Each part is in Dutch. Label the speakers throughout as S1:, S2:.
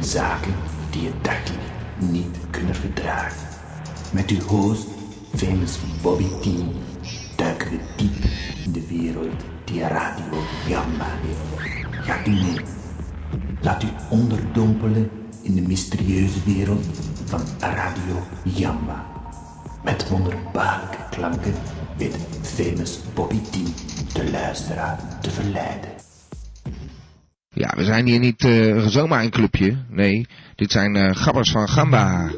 S1: zaken die je dagelijks niet kunnen verdragen. Met uw host, famous Bobby T, duiken we diep in de wereld die Radio Gamma heeft. Gaat u mee? Laat u onderdompelen in de mysterieuze wereld van Radio Jamba. Met wonderbaarlijke klanken weet famous Bobby T de luisteraar te verleiden.
S2: Ja, we zijn hier niet eh, zomaar een clubje. Nee, dit zijn eh, gabbers van Gamba.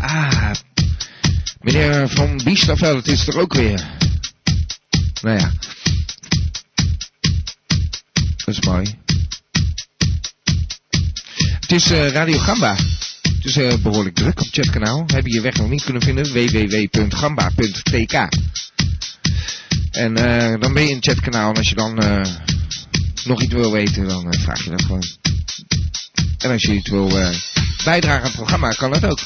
S2: Ah, meneer Van Biesterveld is er ook weer. Nou ja. Dat is mooi. Het is eh, Radio Gamba. Het is eh, behoorlijk druk op het chatkanaal. Heb je je weg nog niet kunnen vinden? www.gamba.tk En eh, dan ben je in het chatkanaal. En als je dan eh, nog iets wil weten, dan eh, vraag je dat gewoon. En als je iets wil eh, bijdragen aan het programma, kan dat ook.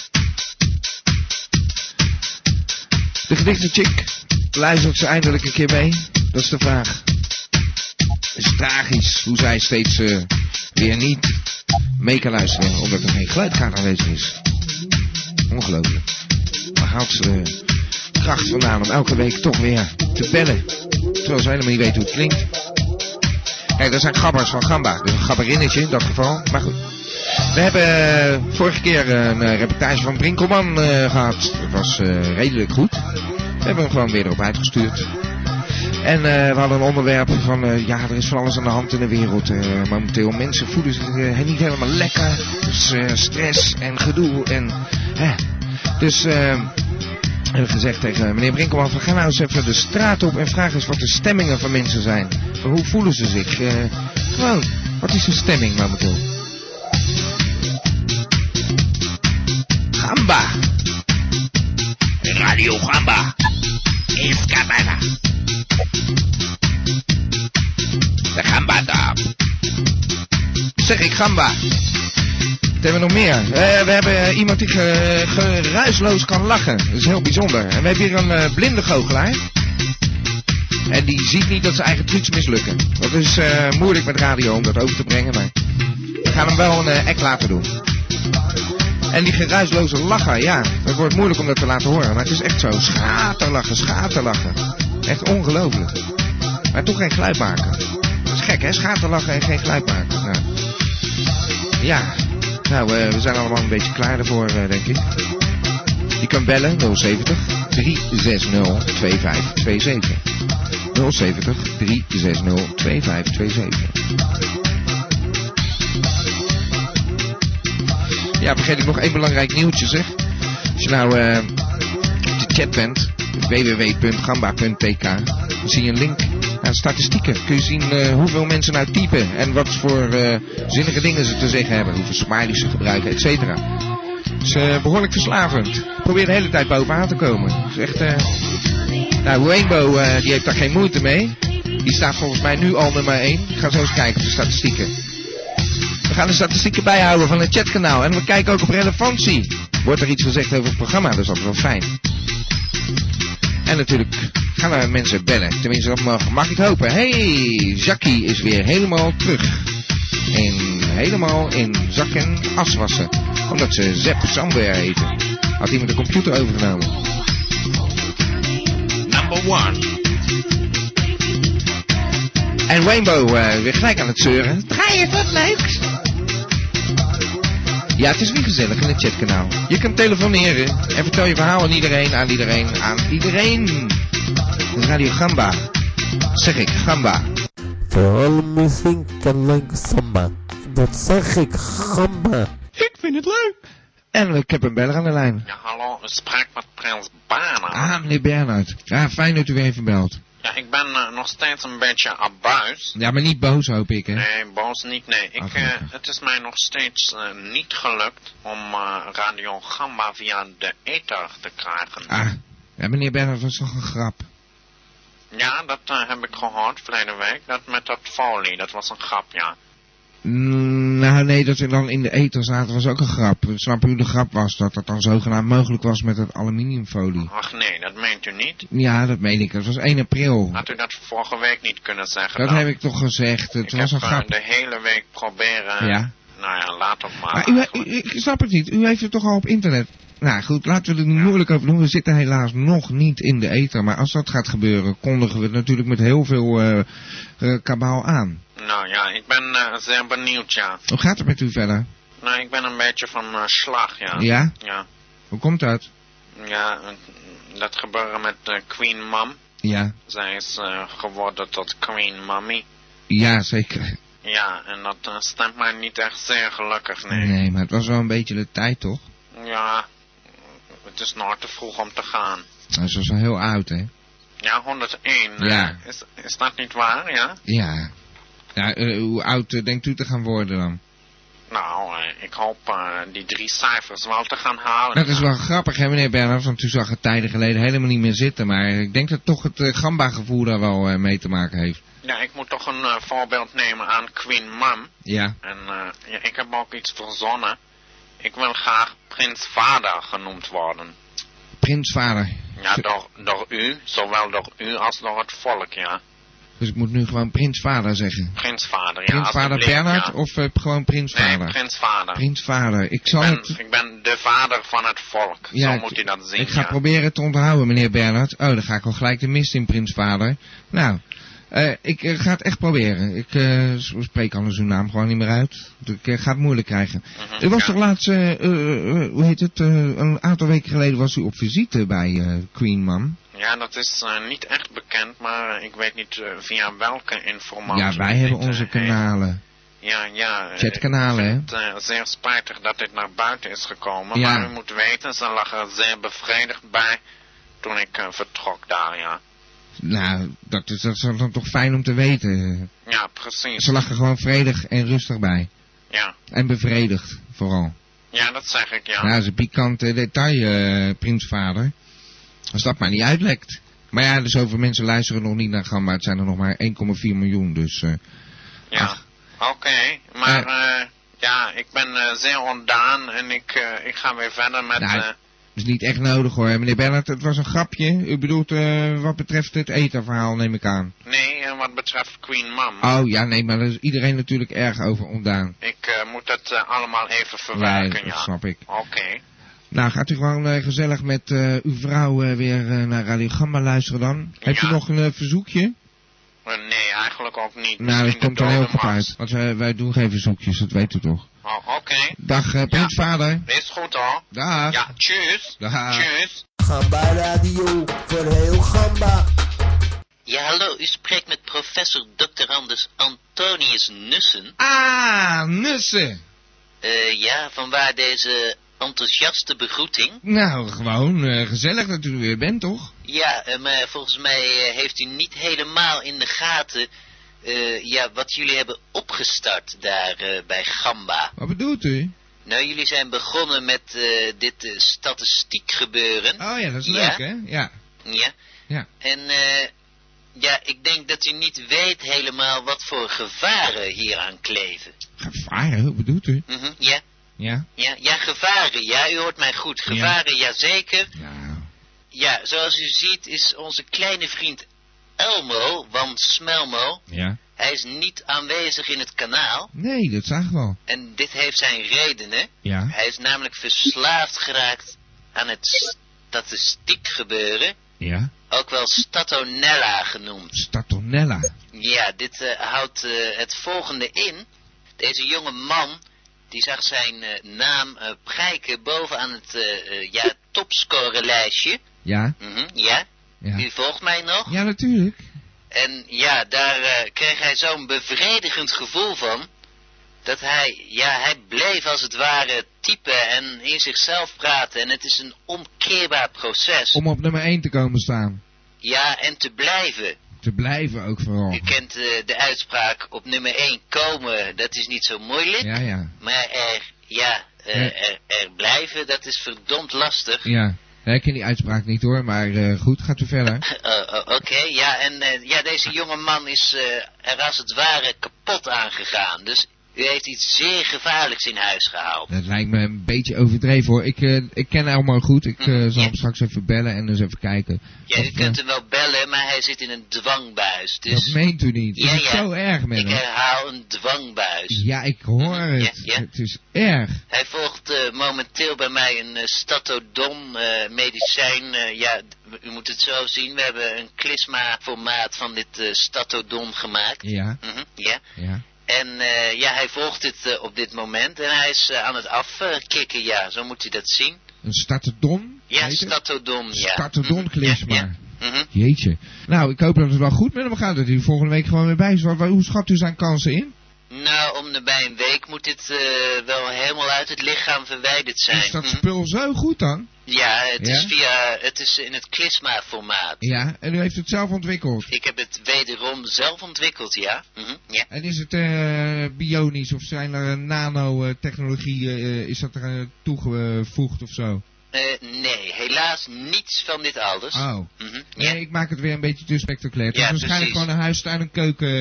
S2: De gedichte chick luistert ze eindelijk een keer mee. Dat is de vraag. Het is tragisch hoe zij steeds eh, weer niet mee kan luisteren, omdat er geen geluidkaart aanwezig is. Ongelooflijk. Waar haalt ze de kracht vandaan om elke week toch weer te bellen? Terwijl ze helemaal niet weet hoe het klinkt. Kijk, dat zijn gabbers van Gamba. Dus een gabberinnetje in dat geval. Maar goed. We hebben eh, vorige keer een eh, reportage van Brinkelman eh, gehad. Dat was eh, redelijk goed. We hebben hem gewoon weer erop uitgestuurd. En eh, we hadden een onderwerp van, eh, ja, er is van alles aan de hand in de wereld. eh, momenteel, mensen voelen zich eh, niet helemaal lekker. Dus eh, stress en gedoe en... hè. Dus eh, we hebben gezegd tegen eh, meneer Brinkelman van, ga nou eens even de straat op en vraag eens wat de stemmingen van mensen zijn. Hoe voelen ze zich? eh, gewoon, wat is hun stemming momenteel? Gamba! Radio Gamba! Escapada! De gamba daar. Zeg ik gamba. Wat hebben we nog meer? Eh, we hebben eh, iemand die ge- geruisloos kan lachen. Dat is heel bijzonder. En we hebben hier een eh, blinde goochelaar. En die ziet niet dat zijn eigen trucs mislukken. Dat is eh, moeilijk met radio om dat over te brengen. Maar we gaan hem wel een eh, act laten doen. En die geruisloze lachen, ja, dat wordt moeilijk om dat te laten horen. Maar het is echt zo. Schaterlachen, schaterlachen. Echt ongelooflijk. Maar toch geen geluid maken. Dat is gek, hè? Schaterlachen en geen geluid maken. Nou. Ja, nou, eh, we zijn allemaal een beetje klaar ervoor, eh, denk ik. Je kan bellen 070 360 2527. 070 360 2527. Ja, vergeet ik nog één belangrijk nieuwtje zeg. Als je nou eh, op de chat bent, www.gamba.tk, dan zie je een link naar statistieken. Kun je zien eh, hoeveel mensen nou typen en wat voor eh, zinnige dingen ze te zeggen hebben. Hoeveel smileys ze gebruiken, et cetera. Het is eh, behoorlijk verslavend. Probeer de hele tijd bovenaan te komen. Het is echt... eh, Nou, Rainbow eh, die heeft daar geen moeite mee. Die staat volgens mij nu al nummer 1. Ik ga zo eens kijken op de statistieken. We gaan de statistieken bijhouden van het chatkanaal en we kijken ook op relevantie. Wordt er iets gezegd over het programma, dus dat is wel fijn. En natuurlijk gaan we mensen bellen. Tenminste, dat mag, mag ik hopen. hey, Jackie is weer helemaal terug. En helemaal in zak en aswassen. Omdat ze Zepp Samber eten. Had iemand de computer overgenomen. Number one. En Rainbow eh, weer gelijk aan het zeuren. Draai je wat leuks? Ja, het is weer gezellig in het chatkanaal. Je kunt telefoneren en vertel je verhaal aan iedereen, aan iedereen, aan iedereen. Radio Gamba. Zeg ik, Gamba.
S3: Vooral muziek en leuk samba. Dat zeg ik, gamba.
S2: Ik vind het leuk. En ik heb een beller aan de lijn.
S4: Ja, hallo, u spreekt met Prins Bana.
S2: Ah, meneer Bernhard. Ja, fijn dat u weer even belt.
S4: Ja, ik ben eh, nog steeds een beetje abuis.
S2: Ja, maar niet boos hoop ik, hè.
S4: Nee, boos niet, nee. Ik,
S2: Oké.
S4: eh, het is mij nog steeds eh, niet gelukt om eh, Radio Gamba via de ether te krijgen.
S2: Ah, ja, meneer Bernhard, dat is toch een grap.
S4: Ja, dat eh, heb ik gehoord verleden week. Dat met dat folie, dat was een grap, ja.
S2: Mm, nou nee, dat ze dan in de ether zaten was ook een grap. Snap u, de grap was dat dat dan zogenaamd mogelijk was met het aluminiumfolie.
S4: Ach nee, dat meent u niet?
S2: Ja, dat meen ik. Dat was 1 april.
S4: Had u dat vorige week niet kunnen zeggen?
S2: Dat
S4: dan?
S2: heb ik toch gezegd. Het
S4: Ik
S2: was een
S4: heb eh,
S2: grap.
S4: de hele week proberen.
S2: Ja.
S4: Nou ja, laat het maar.
S2: Maar u,
S4: eigenlijk.
S2: u- ik snap het niet. U heeft het toch al op internet. Nou goed, laten we er niet moeilijk over doen. We zitten helaas nog niet in de ether. Maar als dat gaat gebeuren, kondigen we het natuurlijk met heel veel eh, eh, kabaal aan.
S4: Nou ja, ik ben eh, zeer benieuwd, ja.
S2: Hoe gaat het met u verder?
S4: Nou, ik ben een beetje van eh, slag, ja.
S2: Ja?
S4: Ja,
S2: Hoe komt dat?
S4: Ja, eh, dat gebeurde met eh, Queen Mom.
S2: Ja.
S4: Zij is eh, geworden tot Queen Mommy.
S2: Ja, zeker.
S4: Ja, en dat eh, stemt mij niet echt zeer gelukkig, nee.
S2: Nee, maar het was wel een beetje de tijd, toch?
S4: Ja, het is nog te vroeg om te gaan.
S2: Nou, ze was al heel oud, hè?
S4: Ja, 101. eh,
S2: Ja.
S4: Is, is dat niet waar, ja?
S2: Ja. Ja, eh, hoe oud eh, denkt u te gaan worden dan?
S4: Nou, eh, ik hoop eh, die drie cijfers wel te gaan halen.
S2: Dat is wel grappig, hè, meneer Bernhard? Want u zag het tijden geleden helemaal niet meer zitten. Maar ik denk dat toch het eh, gamba-gevoel daar wel eh, mee te maken heeft.
S4: Ja, ik moet toch een eh, voorbeeld nemen aan Queen Mom.
S2: Ja.
S4: En eh, ja, ik heb ook iets verzonnen. Ik wil graag Prins Vader genoemd worden.
S2: Prinsvader.
S4: Ja, door, door u, zowel door u als door het volk, ja.
S2: Dus ik moet nu gewoon prinsvader zeggen.
S4: Prins Vader, ja.
S2: Prinsvader
S4: alsjeblieft,
S2: Bernhard
S4: ja.
S2: of eh, gewoon prinsvader?
S4: Nee, Prins Vader.
S2: prinsvader. Ik zal
S4: Ik ben-
S2: het...
S4: ik ben de vader van het volk.
S2: Ja,
S4: Zo
S2: ik-
S4: moet u dat zien.
S2: Ik ga
S4: ja.
S2: proberen te onthouden, meneer Bernhard. Oh, dan ga ik al gelijk de mist in, prinsvader. Nou, eh, ik eh, ga het echt proberen. Ik eh, s- spreek anders uw naam gewoon niet meer uit. Ik eh, ga het moeilijk krijgen.
S4: Mhm,
S2: U was
S4: ja.
S2: toch laatst, eh, eh, eh, hoe heet het, eh, een aantal weken geleden was u op visite bij eh, Queen Mom.
S4: Ja, dat is eh, niet echt bekend, maar ik weet niet eh, via welke informatie.
S2: Ja, wij hebben onze kanalen.
S4: Ja, ja. eh,
S2: Chatkanalen,
S4: ik vind Het eh, zeer spijtig dat dit naar buiten is gekomen.
S2: Ja.
S4: Maar u moet weten, ze lag er zeer bevredigd bij toen ik eh, vertrok daar, ja.
S2: Nou, dat is, dat is dan toch fijn om te weten.
S4: Ja, precies.
S2: Ze lag er gewoon vredig en rustig bij.
S4: Ja.
S2: En bevredigd, vooral.
S4: ja, dat zeg ik, ja.
S2: Nou, dat is een pikant eh, detail, eh, prinsvader. Als dat maar niet uitlekt. Maar ja, er zoveel mensen luisteren nog niet naar Gamma. Het zijn er nog maar 1,4 miljoen, dus... eh,
S4: Ja.
S2: Ach.
S4: Oké, maar eh, ja, ik ben eh, zeer ontdaan en ik, eh, ik ga weer verder met...
S2: Nou,
S4: eh,
S2: dat is niet echt nodig hoor. Meneer Bernhard, het was een grapje. U bedoelt eh, wat betreft het ETA-verhaal, neem ik aan.
S4: nee, en wat betreft Queen Mom.
S2: Oh ja, nee, maar daar is iedereen natuurlijk erg over ontdaan.
S4: Ik eh, moet dat eh, allemaal even
S2: Ja,
S4: verwerken,
S2: dat
S4: ja.
S2: snap ik.
S4: Oké.
S2: Nou, gaat u gewoon eh, gezellig met eh, uw vrouw eh, weer eh, naar Radio Gamma luisteren dan? Heeft u
S4: Ja.
S2: nog een eh, verzoekje?
S4: Eh, nee, eigenlijk ook niet.
S2: Nou, dat
S4: Misschien
S2: komt
S4: de
S2: er heel
S4: dode
S2: goed
S4: Mars.
S2: uit. Want wij, wij doen geen verzoekjes, dat weet u toch.
S4: Oh, Oké,
S2: Dag, eh prinsvader.
S4: is goed hoor.
S2: Dag.
S4: Ja, tjus.
S2: Dag.
S4: Tjus.
S3: Gamba Radio voor heel Gamba.
S5: Ja, hallo, u spreekt met professor doctorandus Antonius Nussen.
S2: Ah, Nussen.
S5: Eh ja, vanwaar deze enthousiaste begroeting?
S2: Nou, gewoon eh, gezellig dat u er weer bent, toch?
S5: Ja, eh, maar volgens mij eh, heeft u niet helemaal in de gaten eh, ja, wat jullie hebben opgestart daar eh, bij Gamba.
S2: Wat bedoelt u?
S5: Nou, jullie zijn begonnen met eh, dit eh, statistiek gebeuren.
S2: Oh ja, dat is
S5: Ja.
S2: leuk, hè? Ja.
S5: Ja.
S2: Ja.
S5: En eh, ja, ik denk dat u niet weet helemaal wat voor gevaren hieraan kleven.
S2: Gevaren, hoe bedoelt u?
S5: Mhm, ja.
S2: Ja.
S5: Ja, ja, gevaren. Ja, u hoort mij goed. Gevaren, jazeker.
S2: Nou,
S5: Ja, zoals u ziet is onze kleine vriend Elmo, want Smelmo,
S2: ja.
S5: hij is niet aanwezig in het kanaal.
S2: Nee, dat zag ik wel.
S5: En dit heeft zijn redenen.
S2: Ja,
S5: Hij is namelijk verslaafd geraakt aan het statistiek gebeuren.
S2: ja.
S5: Ook wel Statonella genoemd.
S2: Statonella.
S5: Ja, dit eh, houdt eh, het volgende in. Deze jonge man, die zag zijn eh, naam eh prijken bovenaan het eh, eh, ja, topscorelijstje.
S2: Ja,
S5: Mhm, ja,
S2: ja.
S5: u volgt mij nog.
S2: Ja, natuurlijk.
S5: En ja, daar eh, kreeg hij zo'n bevredigend gevoel van. Dat hij, ja, hij bleef als het ware typen en in zichzelf praten. En het is een omkeerbaar proces.
S2: Om op nummer 1 te komen staan.
S5: Ja, en te blijven.
S2: Te blijven ook vooral.
S5: U kent eh, de uitspraak op nummer 1 komen, dat is niet zo moeilijk.
S2: Ja, ja.
S5: Maar er, ja, eh,
S2: Ja.
S5: Er, er blijven, dat is verdomd lastig.
S2: Hm. Ja. Nee, ik ken die uitspraak niet hoor, maar eh, goed, gaat u verder.
S5: Eh, eh, Oké, ja, en eh, ja, deze jonge man is eh, er als het ware kapot aangegaan. Dus U heeft iets zeer gevaarlijks in huis gehaald.
S2: Dat lijkt me een beetje overdreven hoor. Ik, eh, ik ken Elmar goed. Ik eh,
S5: Mhm,
S2: zal
S5: ja.
S2: hem straks even bellen en eens even kijken.
S5: Ja,
S2: Of,
S5: u kunt
S2: eh,
S5: hem wel bellen, maar hij zit in een dwangbuis. Dus
S2: Dat meent u niet.
S5: Ja,
S2: het is
S5: ja.
S2: zo erg met
S5: ik
S2: hem.
S5: herhaal een dwangbuis.
S2: Ja, ik hoor
S5: Mhm, ja,
S2: het.
S5: ja.
S2: Het is erg.
S5: Hij volgt eh, momenteel bij mij een eh, statodon eh, medicijn. eh, ja, d- u moet het zo zien. We hebben een klisma-formaat van dit eh, statodon gemaakt.
S2: Ja,
S5: Mhm, ja.
S2: ja.
S5: En eh, ja, hij volgt dit eh, op dit moment. En hij is eh, aan het afkikken, ja. Zo moet u dat zien.
S2: Een startedon?
S5: Ja,
S2: heet het?
S5: statodon, ja.
S2: Startedon
S5: Mhm, ja,
S2: klisma.
S5: ja. Mhm.
S2: Jeetje. Nou, ik hoop dat het wel goed met hem gaat. Dat hij volgende week gewoon weer bij is. Waar- waar- Hoe schat u zijn kansen in?
S5: Nou, om de bij een week moet dit eh, wel helemaal uit het lichaam verwijderd zijn.
S2: Is dat
S5: Mhm.
S2: spul zo goed dan?
S5: Ja, het
S2: Ja?
S5: is via, het is in het klisma-formaat.
S2: Ja, en u heeft het zelf ontwikkeld.
S5: Ik heb het wederom zelf ontwikkeld, ja. Mhm, ja.
S2: En is het eh, bionisch of zijn er eh, nanotechnologie, eh, is dat er eh, toegevoegd of zo?
S5: Eh, nee, helaas niets van dit alles.
S2: Oh,
S5: Mhm, ja.
S2: nee, ik maak het weer een beetje te spectaculair. Het is
S5: Ja,
S2: waarschijnlijk
S5: precies.
S2: gewoon een huis en een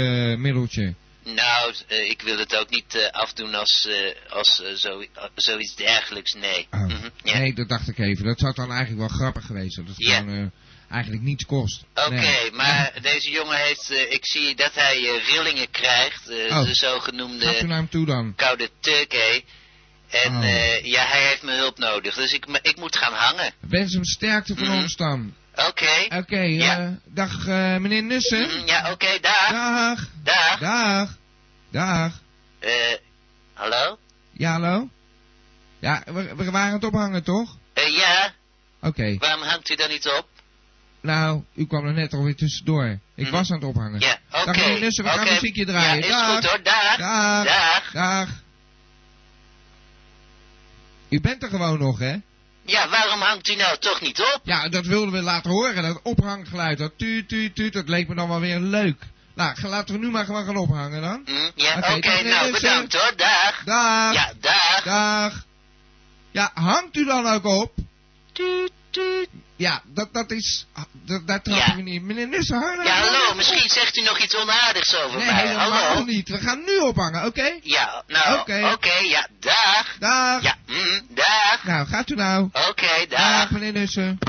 S2: keukenmiddeltje.
S5: Nou, eh, ik wil het ook niet eh, afdoen als, eh, als eh, zo, eh, zoiets dergelijks, nee.
S2: Oh.
S5: Mhm, ja.
S2: Nee, dat dacht ik even. Dat zou dan eigenlijk wel grappig geweest zijn. Dat het
S5: Ja.
S2: gewoon eh, eigenlijk niets kost.
S5: Oké,
S2: Nee.
S5: maar deze jongen heeft, eh, ik zie dat hij eh, rillingen krijgt, eh,
S2: Oh.
S5: de zogenoemde...
S2: Gaat u naar hem toe dan?
S5: koude turkey. En
S2: Oh.
S5: eh, ja, hij heeft mijn hulp nodig, dus ik, m- ik moet gaan hangen.
S2: Wens hem sterkte voor
S5: Mhm.
S2: ons dan.
S5: Oké.
S2: Oké,
S5: Ja.
S2: eh, dag eh, meneer Nussen.
S5: Mm, Ja, oké, dag.
S2: Dag,
S5: Dag.
S2: dag, dag.
S5: Eh, hallo?
S2: Ja, hallo? Ja, we, we waren aan het ophangen, toch?
S5: Eh, ja,
S2: Oké.
S5: waarom hangt u dan niet op?
S2: Nou, u kwam er net alweer tussendoor. Ik
S5: Mhm.
S2: was aan het ophangen.
S5: Ja, oké.
S2: Dag meneer Nussen, we gaan
S5: Oké.
S2: muziekje draaien.
S5: Ja, is
S2: Dag.
S5: goed hoor, dag.
S2: Dag.
S5: Dag.
S2: Dag. U bent er gewoon nog, hè?
S5: Ja, waarom hangt u nou toch niet op?
S2: Ja, dat wilden we laten horen. Dat ophanggeluid, dat tuut, tuut, tuut, dat leek me dan wel weer leuk. Nou, ga- laten we nu maar gewoon gaan ophangen dan.
S5: Mm, ja,
S2: Oké,
S5: oké,
S2: dag, meneer
S5: nou
S2: Nussen.
S5: bedankt hoor, dag.
S2: Dag.
S5: Ja, dag.
S2: Dag. Ja, hangt u dan ook op? Ja, dat, dat is... Dat, daar trappen
S5: Ja.
S2: we niet. Meneer Nussen, hang nou
S5: Ja,
S2: gewoon
S5: hallo,
S2: op.
S5: misschien zegt u nog iets onaardigs over
S2: Nee,
S5: mij.
S2: helemaal
S5: Hallo.
S2: niet. We gaan nu ophangen, oké?
S5: Ja, nou, oké,
S2: Oké.
S5: ja, dag.
S2: Dag.
S5: Ja, mm, dag.
S2: Nou, gaat u nou.
S5: Oké, dag.
S2: Dag, meneer Nussen.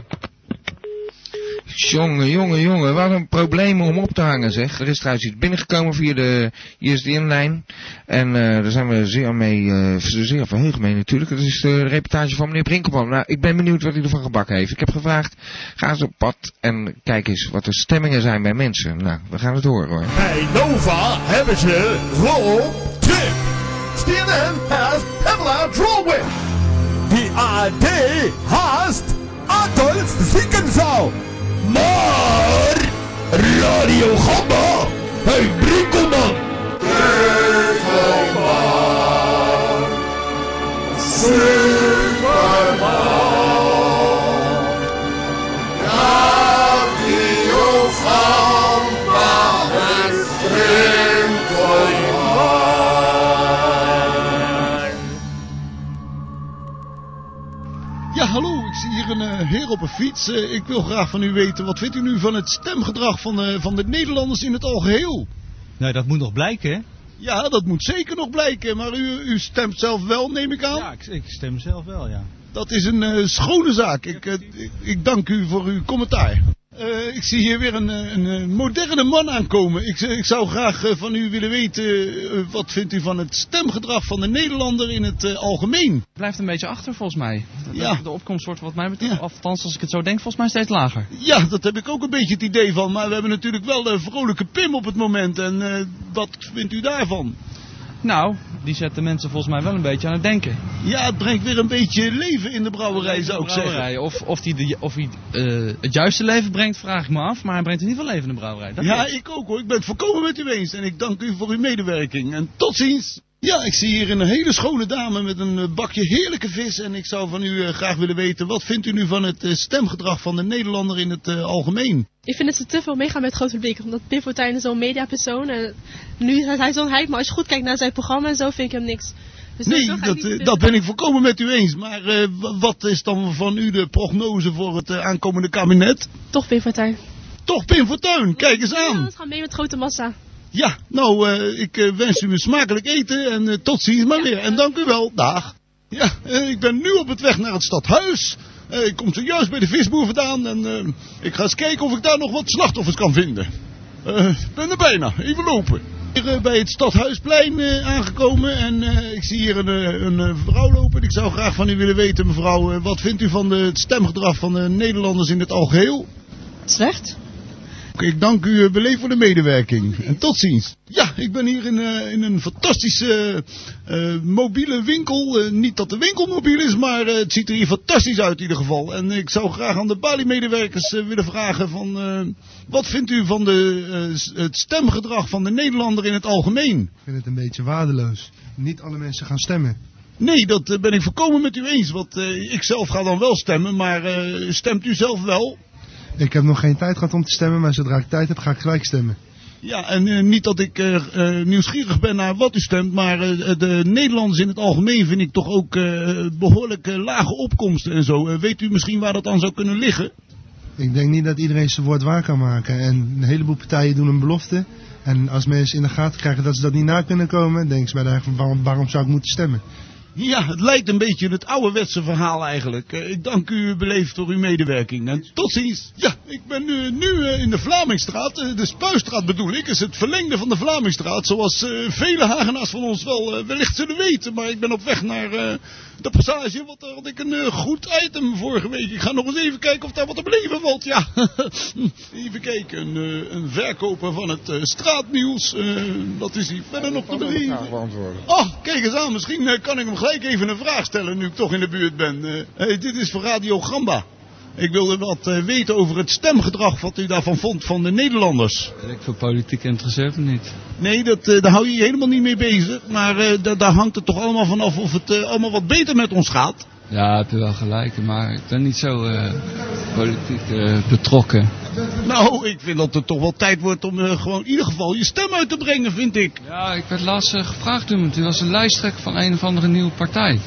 S2: Jongen, jongen, jongen, wat een probleem om op te hangen zeg. Er is trouwens iets binnengekomen via de ISDN-lijn. En eh, daar zijn we zeer, mee, eh, zeer verheugd mee natuurlijk. Dat is de reportage van meneer Brinkelman. Nou, ik ben benieuwd wat hij ervan gebakken heeft. Ik heb gevraagd, ga eens op pad en kijk eens wat de stemmingen zijn bij mensen. Nou, we gaan het horen hoor.
S6: Bij Nova hebben ze Roll Trip. CNN has Pamela Drolwin. Die AD haast Adolf Ziekenzauw. Maar Radio Gamba bij Brinkelman.
S7: Ja, hallo, ik zie hier een eh, heer op een fiets. Eh, ik wil graag van u weten, wat vindt u nu van het stemgedrag van, eh, van de Nederlanders in het algeheel?
S8: Nou, dat moet nog blijken, hè?
S7: Ja, dat moet zeker nog blijken, maar u, u stemt zelf wel, neem ik aan.
S8: Ja, ik, ik stem zelf wel, ja.
S7: Dat is een eh, schone zaak. Ik, eh, ik, ik dank u voor uw commentaar. Eh, ik zie hier weer een, eh, een eh, moderne man aankomen. Ik, ik zou graag eh, van u willen weten, eh, wat vindt u van het stemgedrag van de Nederlander in het eh, algemeen?
S9: blijft een beetje achter volgens mij. De-
S7: Ja.
S9: De opkomst wordt wat mij betreft,
S7: Ja.
S9: althans als ik het zo denk, volgens mij steeds lager.
S7: Ja, dat heb ik ook een beetje het idee van. Maar we hebben natuurlijk wel een vrolijke Pim op het moment. En eh, wat vindt u daarvan?
S9: Nou, die zet de mensen volgens mij wel een beetje aan het denken.
S7: Ja, het brengt weer een beetje leven in de brouwerij, zou ik zeggen.
S9: Brouwerij, Of, of die, de- of die eh, het juiste leven brengt, vraag ik me af. Maar hij brengt in ieder geval leven in de brouwerij. Dat
S7: Ja,
S9: is.
S7: ik ook hoor. Ik ben het volkomen met u eens. En ik dank u voor uw medewerking. En tot ziens. Ja, ik zie hier een hele schone dame met een eh, bakje heerlijke vis. En ik zou van u eh, graag willen weten, wat vindt u nu van het eh, stemgedrag van de Nederlander in het eh, algemeen?
S10: Ik vind dat ze te veel meegaan met het grote publiek. Omdat Pim Fortuyn is zo'n mediapersoon. En nu is hij zo'n hype. Maar als je goed kijkt naar zijn programma en zo, vind ik hem niks. Dus
S7: Nee,
S10: sowieso ga ik
S7: dat,
S10: niet
S7: eh,
S10: stemmen.
S7: dat ben ik volkomen met u eens. Maar eh, wa- wat is dan van u de prognose voor het eh, aankomende kabinet?
S10: Toch Pim Fortuyn.
S7: Toch Pim Fortuyn, kijk eens
S10: Ja,
S7: aan.
S10: we gaan mee met de grote massa.
S7: Ja, nou, eh, ik eh, wens u een smakelijk eten en eh, tot ziens maar weer. En dank u wel, dag. Ja, eh, ik ben nu op het weg naar het stadhuis. Eh, ik kom zojuist bij de visboer vandaan en eh, ik ga eens kijken of ik daar nog wat slachtoffers kan vinden. Eh, Ik ben er bijna, even lopen. Hier eh, bij het stadhuisplein eh, aangekomen en eh, ik zie hier een, eh, een eh, vrouw lopen. Ik zou graag van u willen weten, mevrouw, eh, wat vindt u van de, het stemgedrag van de Nederlanders in het algeheel?
S10: Slecht.
S7: Oké, Ik dank u eh, beleefd voor de medewerking. En tot ziens. Ja, ik ben hier in, eh, in een fantastische eh, eh, mobiele winkel. Eh, niet dat de winkel mobiel is, maar eh, het ziet er hier fantastisch uit in ieder geval. En ik zou graag aan de Bali-medewerkers eh, willen vragen van... eh, wat vindt u van de, eh, s- het stemgedrag van de Nederlander in het algemeen?
S11: Ik vind het een beetje waardeloos. Niet alle mensen gaan stemmen.
S7: Nee, dat eh, ben ik volkomen met u eens. Want eh, ik zelf ga dan wel stemmen, maar eh, stemt u zelf wel?
S11: Ik heb nog geen tijd gehad om te stemmen, maar zodra ik tijd heb ga ik gelijk stemmen.
S7: Ja, en eh, niet dat ik eh, eh, nieuwsgierig ben naar wat u stemt, maar eh, de Nederlanders in het algemeen vind ik toch ook eh, behoorlijk eh, lage opkomsten en zo. Eh, weet u misschien waar dat aan zou kunnen liggen?
S11: Ik denk niet dat iedereen zijn woord waar kan maken. En een heleboel partijen doen een belofte. En als mensen in de gaten krijgen dat ze dat niet na kunnen komen, denken ze bij de eigen van waarom, waarom zou ik moeten stemmen?
S7: Ja, het lijkt een beetje het ouderwetse verhaal eigenlijk. Eh, ik dank u beleefd voor uw medewerking. En tot ziens. Ja, ik ben nu, nu eh, in de Vlamingstraat. Eh, de Spuistraat bedoel ik. is het verlengde van de Vlamingstraat. Zoals eh, vele Hagenaars van ons wel eh, wellicht zullen weten. Maar ik ben op weg naar eh, de passage. Want daar had ik een eh, goed item vorige week. Ik ga nog eens even kijken of daar wat te beleven valt. Ja, even kijken. Een, eh, een verkoper van het eh, straatnieuws. Eh, dat is hier verder nog te beleven. Oh, kijk eens aan. Misschien eh, kan ik hem gelijk even een vraag stellen nu ik toch in de buurt ben. Eh, eh, dit is voor Radio Gamba. Ik wilde wat eh, weten over het stemgedrag, wat u daarvan vond van de Nederlanders.
S9: Ben ik voor politiek interesseert me niet.
S7: Nee, dat, eh, daar hou je je helemaal niet mee bezig. Maar eh, da- daar hangt het toch allemaal van af of het eh, allemaal wat beter met ons gaat.
S9: Ja, heb je wel gelijk, maar ik ben niet zo eh, politiek eh, betrokken.
S7: Nou, ik vind dat het toch wel tijd wordt om eh, gewoon in ieder geval je stem uit te brengen, vind ik.
S9: Ja, ik werd laatst eh, gevraagd toen, toen was een lijsttrekker van een of andere nieuwe partij.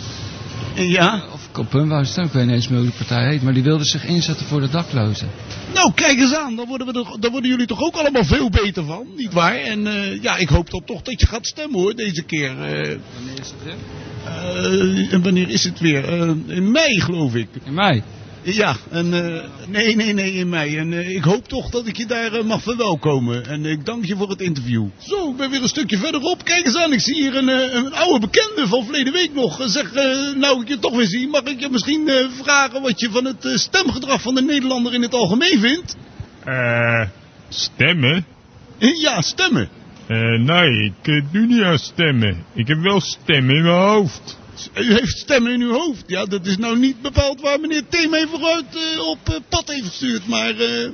S7: Ja?
S9: Of ik op hun wou stemmen, ik weet niet eens meer hoe die partij heet, maar die wilde zich inzetten voor de daklozen.
S7: Nou, kijk eens aan. Daar worden, we toch- daar worden jullie toch ook allemaal veel beter van, nietwaar? En eh, ja, ik hoop dan toch dat je gaat stemmen hoor, deze keer. wanneer is het weer? en wanneer is het weer? Eh, in mei, geloof ik.
S9: In mei?
S7: Ja, en, eh, nee, nee, nee, in mei. En eh, ik hoop toch dat ik je daar eh, mag verwelkomen. En eh, ik dank je voor het interview. Zo, ik ben weer een stukje verderop. Kijk eens aan, ik zie hier een, eh, een oude bekende van verleden week nog. Eh, Zeg, eh, nou ik je toch weer zie, mag ik je misschien eh, vragen wat je van het eh, stemgedrag van de Nederlander in het algemeen vindt?
S12: Eh, stemmen?
S7: Ja, stemmen.
S12: nee, ik eh, doe niet aan stemmen. Ik heb wel stemmen in mijn hoofd.
S7: U heeft stemmen in uw hoofd. Ja, dat is nou niet bepaald waar meneer Tim even vooruit eh, op eh, pad heeft gestuurd. Maar eh,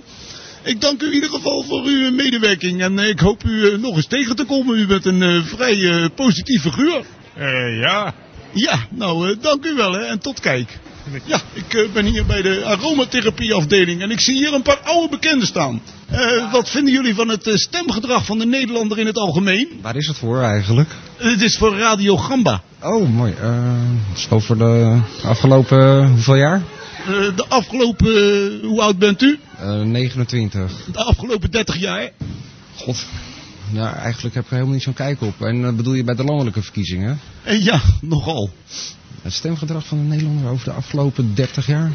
S7: ik dank u in ieder geval voor uw medewerking. En eh, ik hoop u eh, nog eens tegen te komen. U bent een eh, vrij eh, positief figuur.
S12: ja.
S7: Ja, nou, eh, dank u wel hè. En tot kijk. Ja, ik eh, ben hier bij de aromatherapieafdeling en ik zie hier een paar oude bekenden staan. Eh, wat vinden jullie van het eh, stemgedrag van de Nederlander in het algemeen?
S13: Waar is het voor eigenlijk?
S7: Dit is voor Radio Gamba.
S13: Oh, mooi. Eh, is het over de afgelopen hoeveel jaar?
S7: Eh, de afgelopen, eh, hoe oud bent u?
S13: Eh, 29.
S7: De afgelopen 30 jaar.
S13: God. Ja, eigenlijk heb ik er helemaal niet zo'n kijk op. En eh, bedoel je bij de landelijke verkiezingen?
S7: Eh, ja, nogal.
S13: Het stemgedrag van de Nederlander over de afgelopen 30 jaar?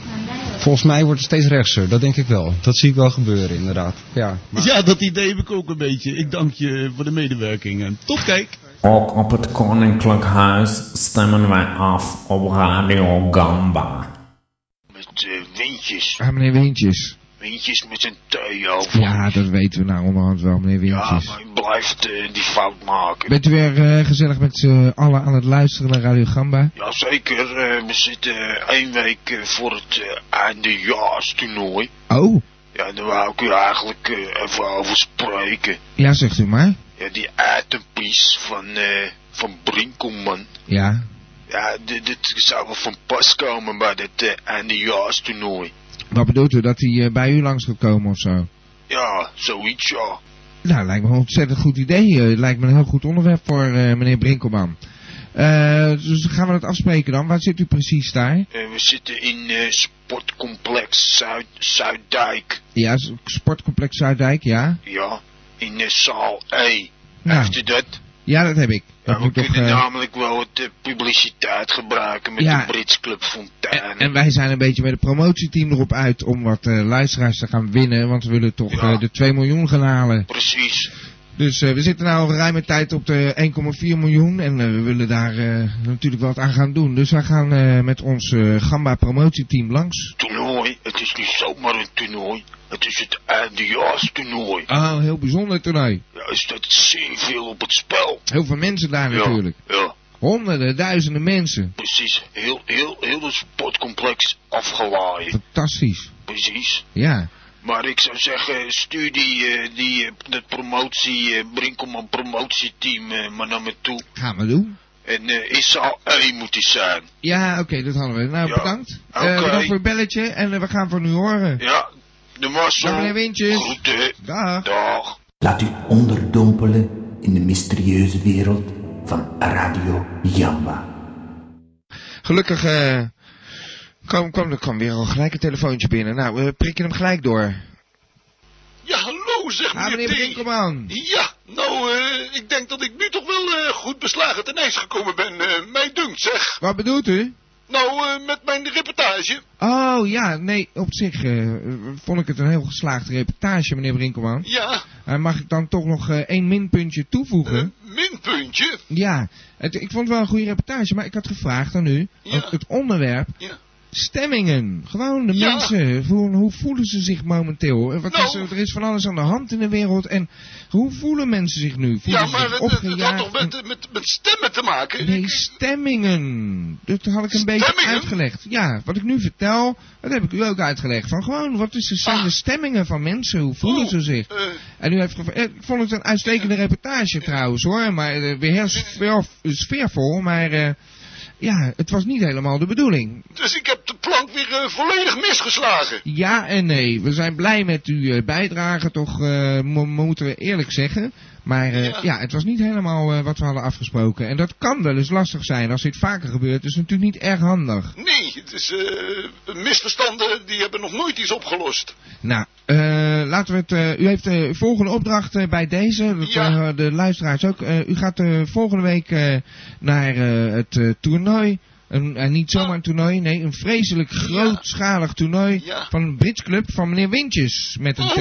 S13: Volgens mij wordt het steeds rechtser, dat denk ik wel. Dat zie ik wel gebeuren, inderdaad. Ja.
S7: Ja, dat idee heb ik ook een beetje. Ik dank je voor de medewerking en tot kijk.
S14: Ook op het Koninklijk Huis stemmen wij af op Radio Gamba.
S15: Met eh, windjes.
S2: Ah, meneer Wintjes.
S15: Windjes met een tui over.
S2: Ja, dat weten we nou onderhand wel, meneer
S15: Ja,
S2: Wintjes.
S15: maar hij blijft eh, die fout maken.
S2: Bent u weer eh, gezellig met z'n allen aan het luisteren naar Radio Gamba?
S15: Jazeker, eh, we zitten eh, één week eh, voor het eh, eindejaarstoernooi.
S2: Oh,
S15: Ja, daar wou ik u eigenlijk eh, even over spreken.
S2: ja, zegt u maar.
S15: Ja, die itempies van, eh, van Brinkelman.
S2: Ja.
S15: Ja, dit, dit zou wel van pas komen bij dit eh, eindejaarstoernooi.
S2: Wat bedoelt u, dat hij eh, bij u langs gaat komen of zo?
S15: Ja, zoiets ja.
S2: Nou, lijkt me een ontzettend goed idee. Eh, lijkt me een heel goed onderwerp voor eh, meneer Brinkelman. Eh, dus gaan we dat afspreken dan? Waar zit u precies daar?
S15: Eh, we zitten in eh, sportcomplex Zuid Zuiddijk.
S2: Ja, s- sportcomplex Zuidwijk, ja.
S15: Ja, in de zaal E.
S2: Nou,
S15: Heeft u dat?
S2: ja, dat heb ik. Dat
S15: We
S2: moet toch,
S15: kunnen
S2: eh,
S15: namelijk wel wat eh, publiciteit gebruiken met
S2: Ja.
S15: de Brits Club Fontein.
S2: en wij zijn een beetje met het promotieteam erop uit om wat eh, luisteraars te gaan winnen. Want we willen toch eh, de 2 miljoen gaan halen.
S15: Precies.
S2: Dus eh, we zitten nu al ruime tijd op de 1,4 miljoen. En eh, we willen daar eh, natuurlijk wat aan gaan doen. Dus wij gaan eh, met ons eh, Gamba promotieteam langs.
S15: Toernooi, het is niet zomaar een toernooi. Het is het eindejaarstoernooi.
S2: Ah, heel bijzonder toernooi.
S15: Ja, er staat zeer veel op het spel.
S2: Heel veel mensen daar natuurlijk.
S15: Ja,
S2: Honderden, duizenden mensen.
S15: precies. Heel, heel, heel het sportcomplex afgewaaid.
S2: Fantastisch.
S15: Precies.
S2: Ja.
S15: Maar ik zou zeggen, stuur die, eh, die eh, dat promotie, eh Brinkelman promotieteam eh, maar naar me toe.
S2: Gaan we doen.
S15: En eh is al één moet die zijn.
S2: Ja, oké, dat hadden we. Nou,
S15: Ja.
S2: bedankt. Eh,
S15: Oké.
S2: bedankt voor het belletje en eh, we gaan van u horen.
S15: Ja, de Marcel.
S2: Dag, meneer Windjes.
S15: Groeten.
S2: Dag.
S15: Dag.
S1: Laat u onderdompelen in de mysterieuze wereld van Radio Jamba.
S2: Gelukkig eh kwam, kwam, er kwam weer al gelijk een telefoontje binnen. Nou, we prikken hem gelijk door.
S16: Ja, hallo, zeg meneer,
S2: meneer
S16: T.
S2: Brinkelman.
S16: Ja, nou, eh, ik denk dat ik nu toch wel eh, goed beslagen ten ijs gekomen ben, eh, mij dunkt, zeg.
S2: Wat bedoelt u?
S16: Nou, eh, met mijn reportage.
S2: Oh ja, nee, op zich eh, vond ik het een heel geslaagde reportage, meneer Brinkelman.
S16: Ja,
S2: Eh, mag ik dan toch nog eh, één minpuntje toevoegen?
S16: Eh, minpuntje.
S2: Ja, het, ik vond het wel een goede reportage, maar ik had gevraagd aan u het, het onderwerp. Stemmingen. Gewoon de
S16: Ja. Nou.
S2: mensen. Hoe, hoe voelen ze zich momenteel? En Wat is, er er is van alles aan de hand in de wereld. En hoe voelen mensen zich nu? Voelen
S16: Ja,
S2: ze
S16: maar
S2: zich
S16: het, het, het had
S2: opgejaagd?
S16: toch met, met, met stemmen te maken?
S2: Nee, stemmingen. Dat had ik een beetje uitgelegd. Ja, wat ik nu vertel, dat heb ik u ook uitgelegd. Van gewoon, wat is, zijn
S16: Ah.
S2: de stemmingen van mensen? Hoe voelen
S16: Oh,
S2: ze zich? En u heeft gevra- eh, Ik vond het een uitstekende reportage trouwens hoor. Maar eh, weer heel sfeer- sfeervol. Maar eh, ja, het was niet helemaal de bedoeling.
S16: Dus ik heb de plank weer eh, volledig misgeslagen.
S2: Ja en nee. We zijn blij met uw eh, bijdrage, toch eh, mo- moeten we eerlijk zeggen. Maar eh, ja. het was niet helemaal eh, wat we hadden afgesproken. En dat kan wel eens lastig zijn. Als dit vaker gebeurt, is het natuurlijk niet erg handig.
S16: Nee, het is eh, misverstanden die hebben nog nooit iets opgelost.
S2: Nou, eh, laten we het. eh, u heeft de volgende opdracht eh, bij deze. Dat, eh, de luisteraars ook. Eh, u gaat eh, volgende week eh, naar eh, het eh, toernooi. Een, en niet zomaar een toernooi, nee, een vreselijk grootschalig toernooi van een Brits club van meneer Wintjes met een
S7: Oh.
S2: T.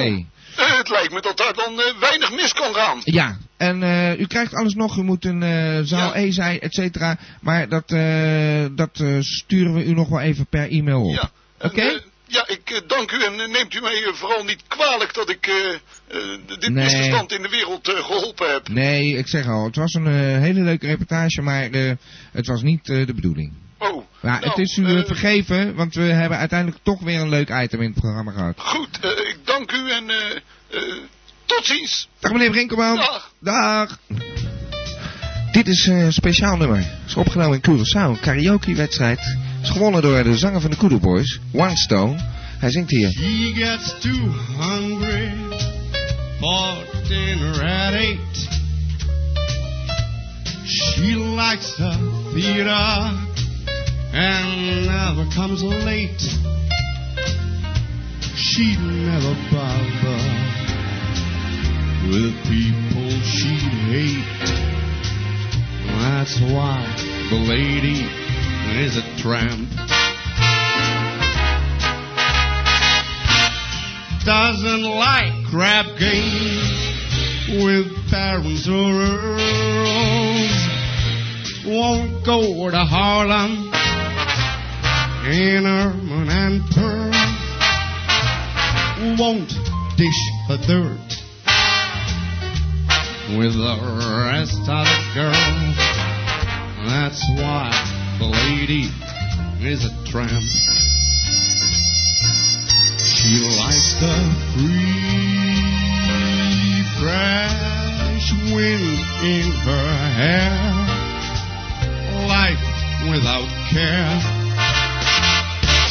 S16: Eh, het lijkt me dat daar dan eh, weinig mis kan gaan.
S2: Ja, en eh, u krijgt alles nog. U moet een eh, zaal E zijn, et cetera. Maar dat, eh, dat eh, sturen we u nog wel even per e-mail op. Oké?
S16: Ja, ik eh, dank u en eh, neemt u mij eh, vooral niet kwalijk dat ik eh, eh, dit
S2: Nee.
S16: misverstand in de wereld eh, geholpen heb.
S2: Nee, ik zeg al, het was een eh, hele leuke reportage, maar eh, het was niet eh, de bedoeling.
S16: Oh,
S2: Maar het is u eh, vergeven, want we hebben uiteindelijk toch weer een leuk item in het programma gehad.
S16: Goed, eh, ik dank u en eh, eh, tot ziens.
S2: Dag meneer Brinkelman.
S16: Dag.
S2: Dag. Dit is eh, een speciaal nummer. Is opgenomen in Curaçao, een karaoke-wedstrijd. Is gewonnen door de zanger van de Kudu Boys, One Stone. Hij zingt hier.
S17: He gets too hungry for dinner at eight. She likes the theater and never comes late. She never bothers with people she hate. That's why the lady is a tramp. doesn't like crap games with parents or girls. Won't go to Harlem in ermine and pearls. Won't dish the dirt with the rest of the girls. That's why the lady is a tramp. She likes the free, fresh wind in her hair. Life without care.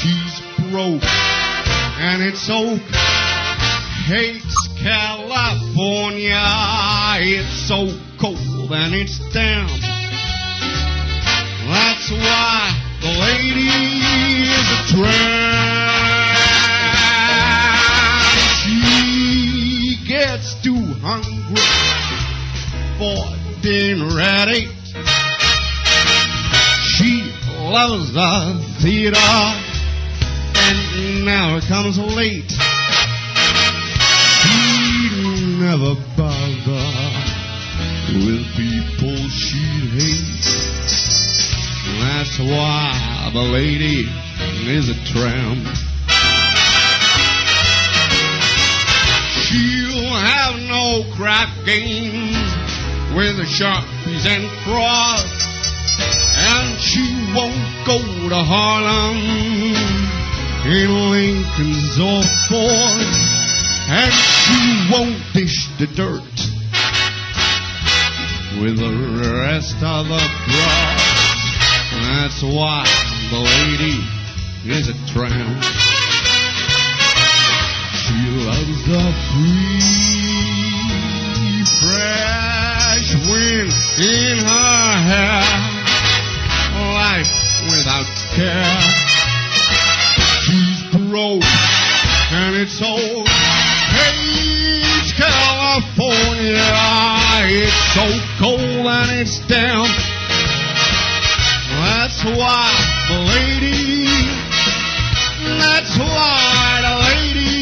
S17: She's broke and it's oak. Hates California. It's so cold and it's damp. That's why the lady is a tramp. She gets too hungry looking ready. She loves the theater, and now it comes late. She never bothers with people she hates. That's why the lady is a tramp. She'll have no crap games with the sharpies and cross, and she won't go to Harlem in Lincoln's or Ford, and she won't dish the dirt with the rest of the crowd. That's why the lady is a tramp. She loves the free, fresh wind in her hair. Life without care. She's broke and it's old. Page, California. It's so cold and it's damp. That's why the lady. That's why the lady.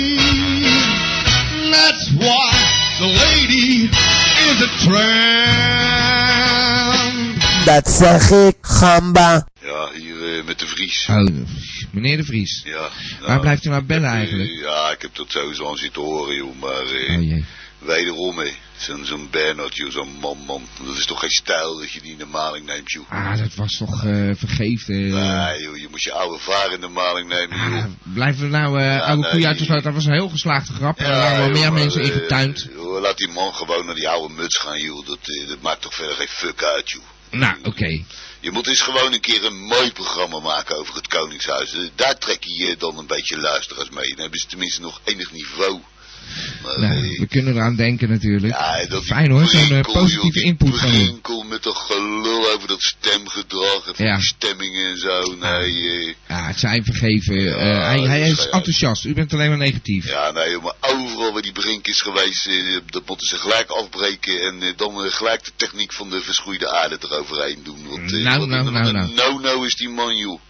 S17: That's why the lady is a tramp.
S3: Dat zeg ik, gamba.
S2: Ja,
S18: eh,
S2: hier met de Vries. Oh, de Vries. meneer de Vries.
S18: Ja. eh,
S2: Waar blijft u nou bellen eigenlijk? Oh,
S18: Ja, ik heb dat sowieso aan zitten horen, joh, maar... eh, Wederom, hè. Zo'n zo'n Bernard, joh, zo'n man, man. Dat is toch geen stijl dat je die in de maling neemt, joh.
S2: Ah, dat was toch eh vergeefd. eh.
S18: Nee, joh, je moet je oude vaar in de maling nemen, joh.
S2: Blijven we nou eh oude
S18: nee,
S2: koeien uit de sloot? Dat was een heel geslaagde grap. en er waren wel
S18: joh,
S2: meer
S18: maar,
S2: mensen
S18: eh,
S2: ingetuind.
S18: joh, laat die man gewoon naar die oude muts gaan, joh. Dat, eh, dat maakt toch verder geen fuck uit, joh.
S2: Nou, oké.
S18: Je moet eens gewoon een keer een mooi programma maken over het Koningshuis. Eh, Daar trek je eh, dan een beetje luisteraars mee. Dan hebben ze tenminste nog enig niveau. Maar,
S2: Nou,
S18: eh,
S2: we kunnen eraan denken natuurlijk.
S18: Ja, dat die
S2: Fijn hoor, zo'n eh,
S18: prinkel, joh,
S2: positieve
S18: die
S2: input van u.
S18: prinkel met dat gelul over dat stemgedrag en van
S2: Ja.
S18: die stemmingen en zo. Nee, eh,
S2: Ja, het zijn vergeven. Eh, hij hij is enthousiast. U bent alleen maar negatief.
S18: ja, nee, joh, maar overal waar die brink is geweest, eh, dat moeten ze gelijk afbreken. En eh, dan eh, gelijk de techniek van de verschroeide aarde eroverheen doen. Want, eh,
S2: Nou,
S18: wat
S2: nou,
S18: een-
S2: nou,
S18: wat
S2: nou.
S18: een no-no is die man, joh.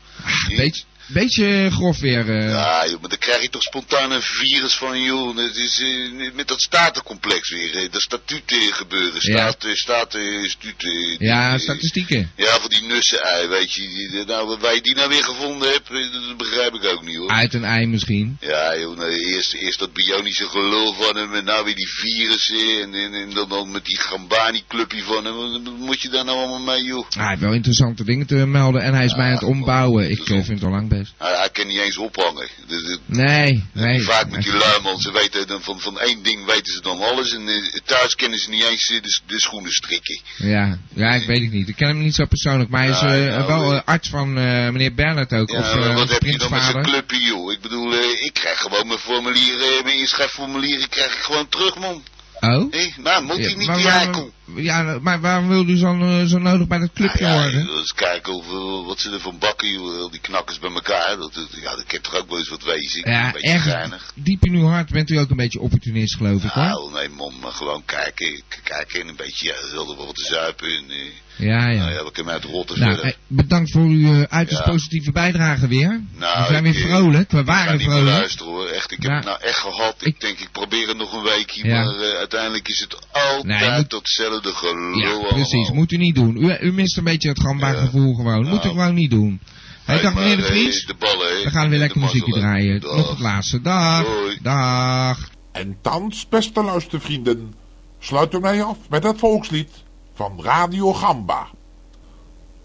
S2: Beetje, beetje grof weer. eh.
S18: Ja, joh, maar dan krijg je toch spontaan een virus van, joh. Het is, eh, met dat statencomplex weer. eh, dat statuut eh, gebeuren.
S2: Ja.
S18: Staat, eh, staat, eh, statuut, eh,
S2: ja, statistieken.
S18: Ja, voor die nussen-ei, weet je. die- die- nou, waar je die nou weer gevonden hebt, eh, dat begrijp ik ook niet, hoor.
S2: Uit een ei misschien.
S18: Ja, joh, nou, eerst, eerst dat bionische gelul van hem en nou weer die virussen en, en, en dan, dan met die Gambani-clubje van hem. Wat moet je daar nou allemaal mee, joh?
S2: Hij heeft wel interessante dingen te melden en hij is mij aan het ombouwen. Ik eh, vind het al lang best.
S18: Hij, hij kan niet eens ophangen. Dus, eh,
S2: Nee, nee.
S18: Vaak met die luimans, ze weten dan van, van één ding weten ze dan alles en eh, thuis kennen ze niet eens eh, de, s- de schoenen strikken.
S2: Ja, ja, ik weet het niet. Ik ken hem niet zo persoonlijk, maar hij is
S18: Ja,
S2: eh,
S18: nou,
S2: wel
S18: eh,
S2: eh, arts van eh, meneer Bernhard ook.
S18: Ja,
S2: of eh,
S18: maar wat
S2: onze
S18: heb je dan met zo'n
S2: prinsvader.
S18: clubje, joh? Ik bedoel, eh, ik krijg gewoon mijn formulieren, eh, mijn inschrijfformulieren krijg ik gewoon terug, man.
S2: Oh?
S18: Hé, nou, moet
S2: Ja,
S18: hij niet
S2: maar
S18: die
S2: waarom-
S18: eikel?
S2: Ja, maar waarom wil u zo, eh, zo nodig bij dat clubje
S18: Ah, Ja,
S2: horen?
S18: joh, eens kijken of, eh, wat ze er van bakken, joh, al die knakkers bij elkaar. Dat, dat- ja, ik heb toch ook wel eens wat wezen, ik ben
S2: Ja,
S18: een beetje
S2: ergens
S18: geinig.
S2: diep in uw hart bent u ook een beetje opportunist, geloof ik hoor.
S18: Nou, nee, man, maar gewoon kijken, k- kijken en een beetje, ja, ze wilden wel wat te zuipen en, eh,
S2: Ja, ja.
S18: nou ja, we kunnen uit rotten
S2: Nou,
S18: verder.
S2: eh, bedankt voor uw eh, uiterst
S18: Ja.
S2: positieve bijdrage weer.
S18: Nou,
S2: we zijn weer
S18: ik, eh,
S2: vrolijk, we
S18: Ik ga
S2: waren
S18: niet meer
S2: vrolijk.
S18: luisteren hoor. Echt, ik heb
S2: Ja.
S18: het nou echt gehad. Ik, denk, ik probeer het nog een weekje,
S2: Ja.
S18: maar eh, uiteindelijk is het altijd
S2: Nee, je moet-
S18: datzelfde gelul.
S2: Ja,
S18: allemaal.
S2: precies. Moet u niet doen. U, u mist een beetje het gamba gevoel gewoon. Moet u gewoon niet doen. Hij
S18: Hey,
S2: dacht
S18: Nou. maar,
S2: meneer de
S18: eh,
S2: Vries.
S18: de ballen, hè.
S2: we gaan weer
S18: De
S2: lekker muziekje
S18: mazzel, hè.
S2: draaien.
S18: Dag.
S2: Nog het laatste. Dag. Dag.
S19: En thans, beste luistervrienden, sluiten wij af met het volkslied van Radio Gamba.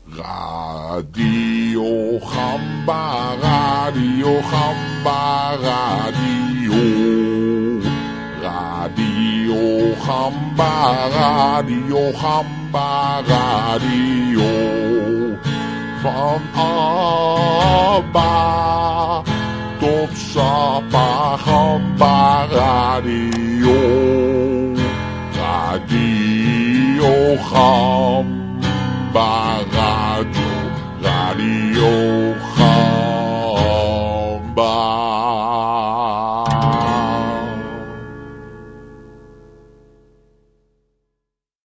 S19: Radio Gamba, Radio Gamba, Radio. Radio Gamba, Radio Gamba, Radio. Van Abba tot Sapa Gamba Radio. Radio Gamba Radio. Radio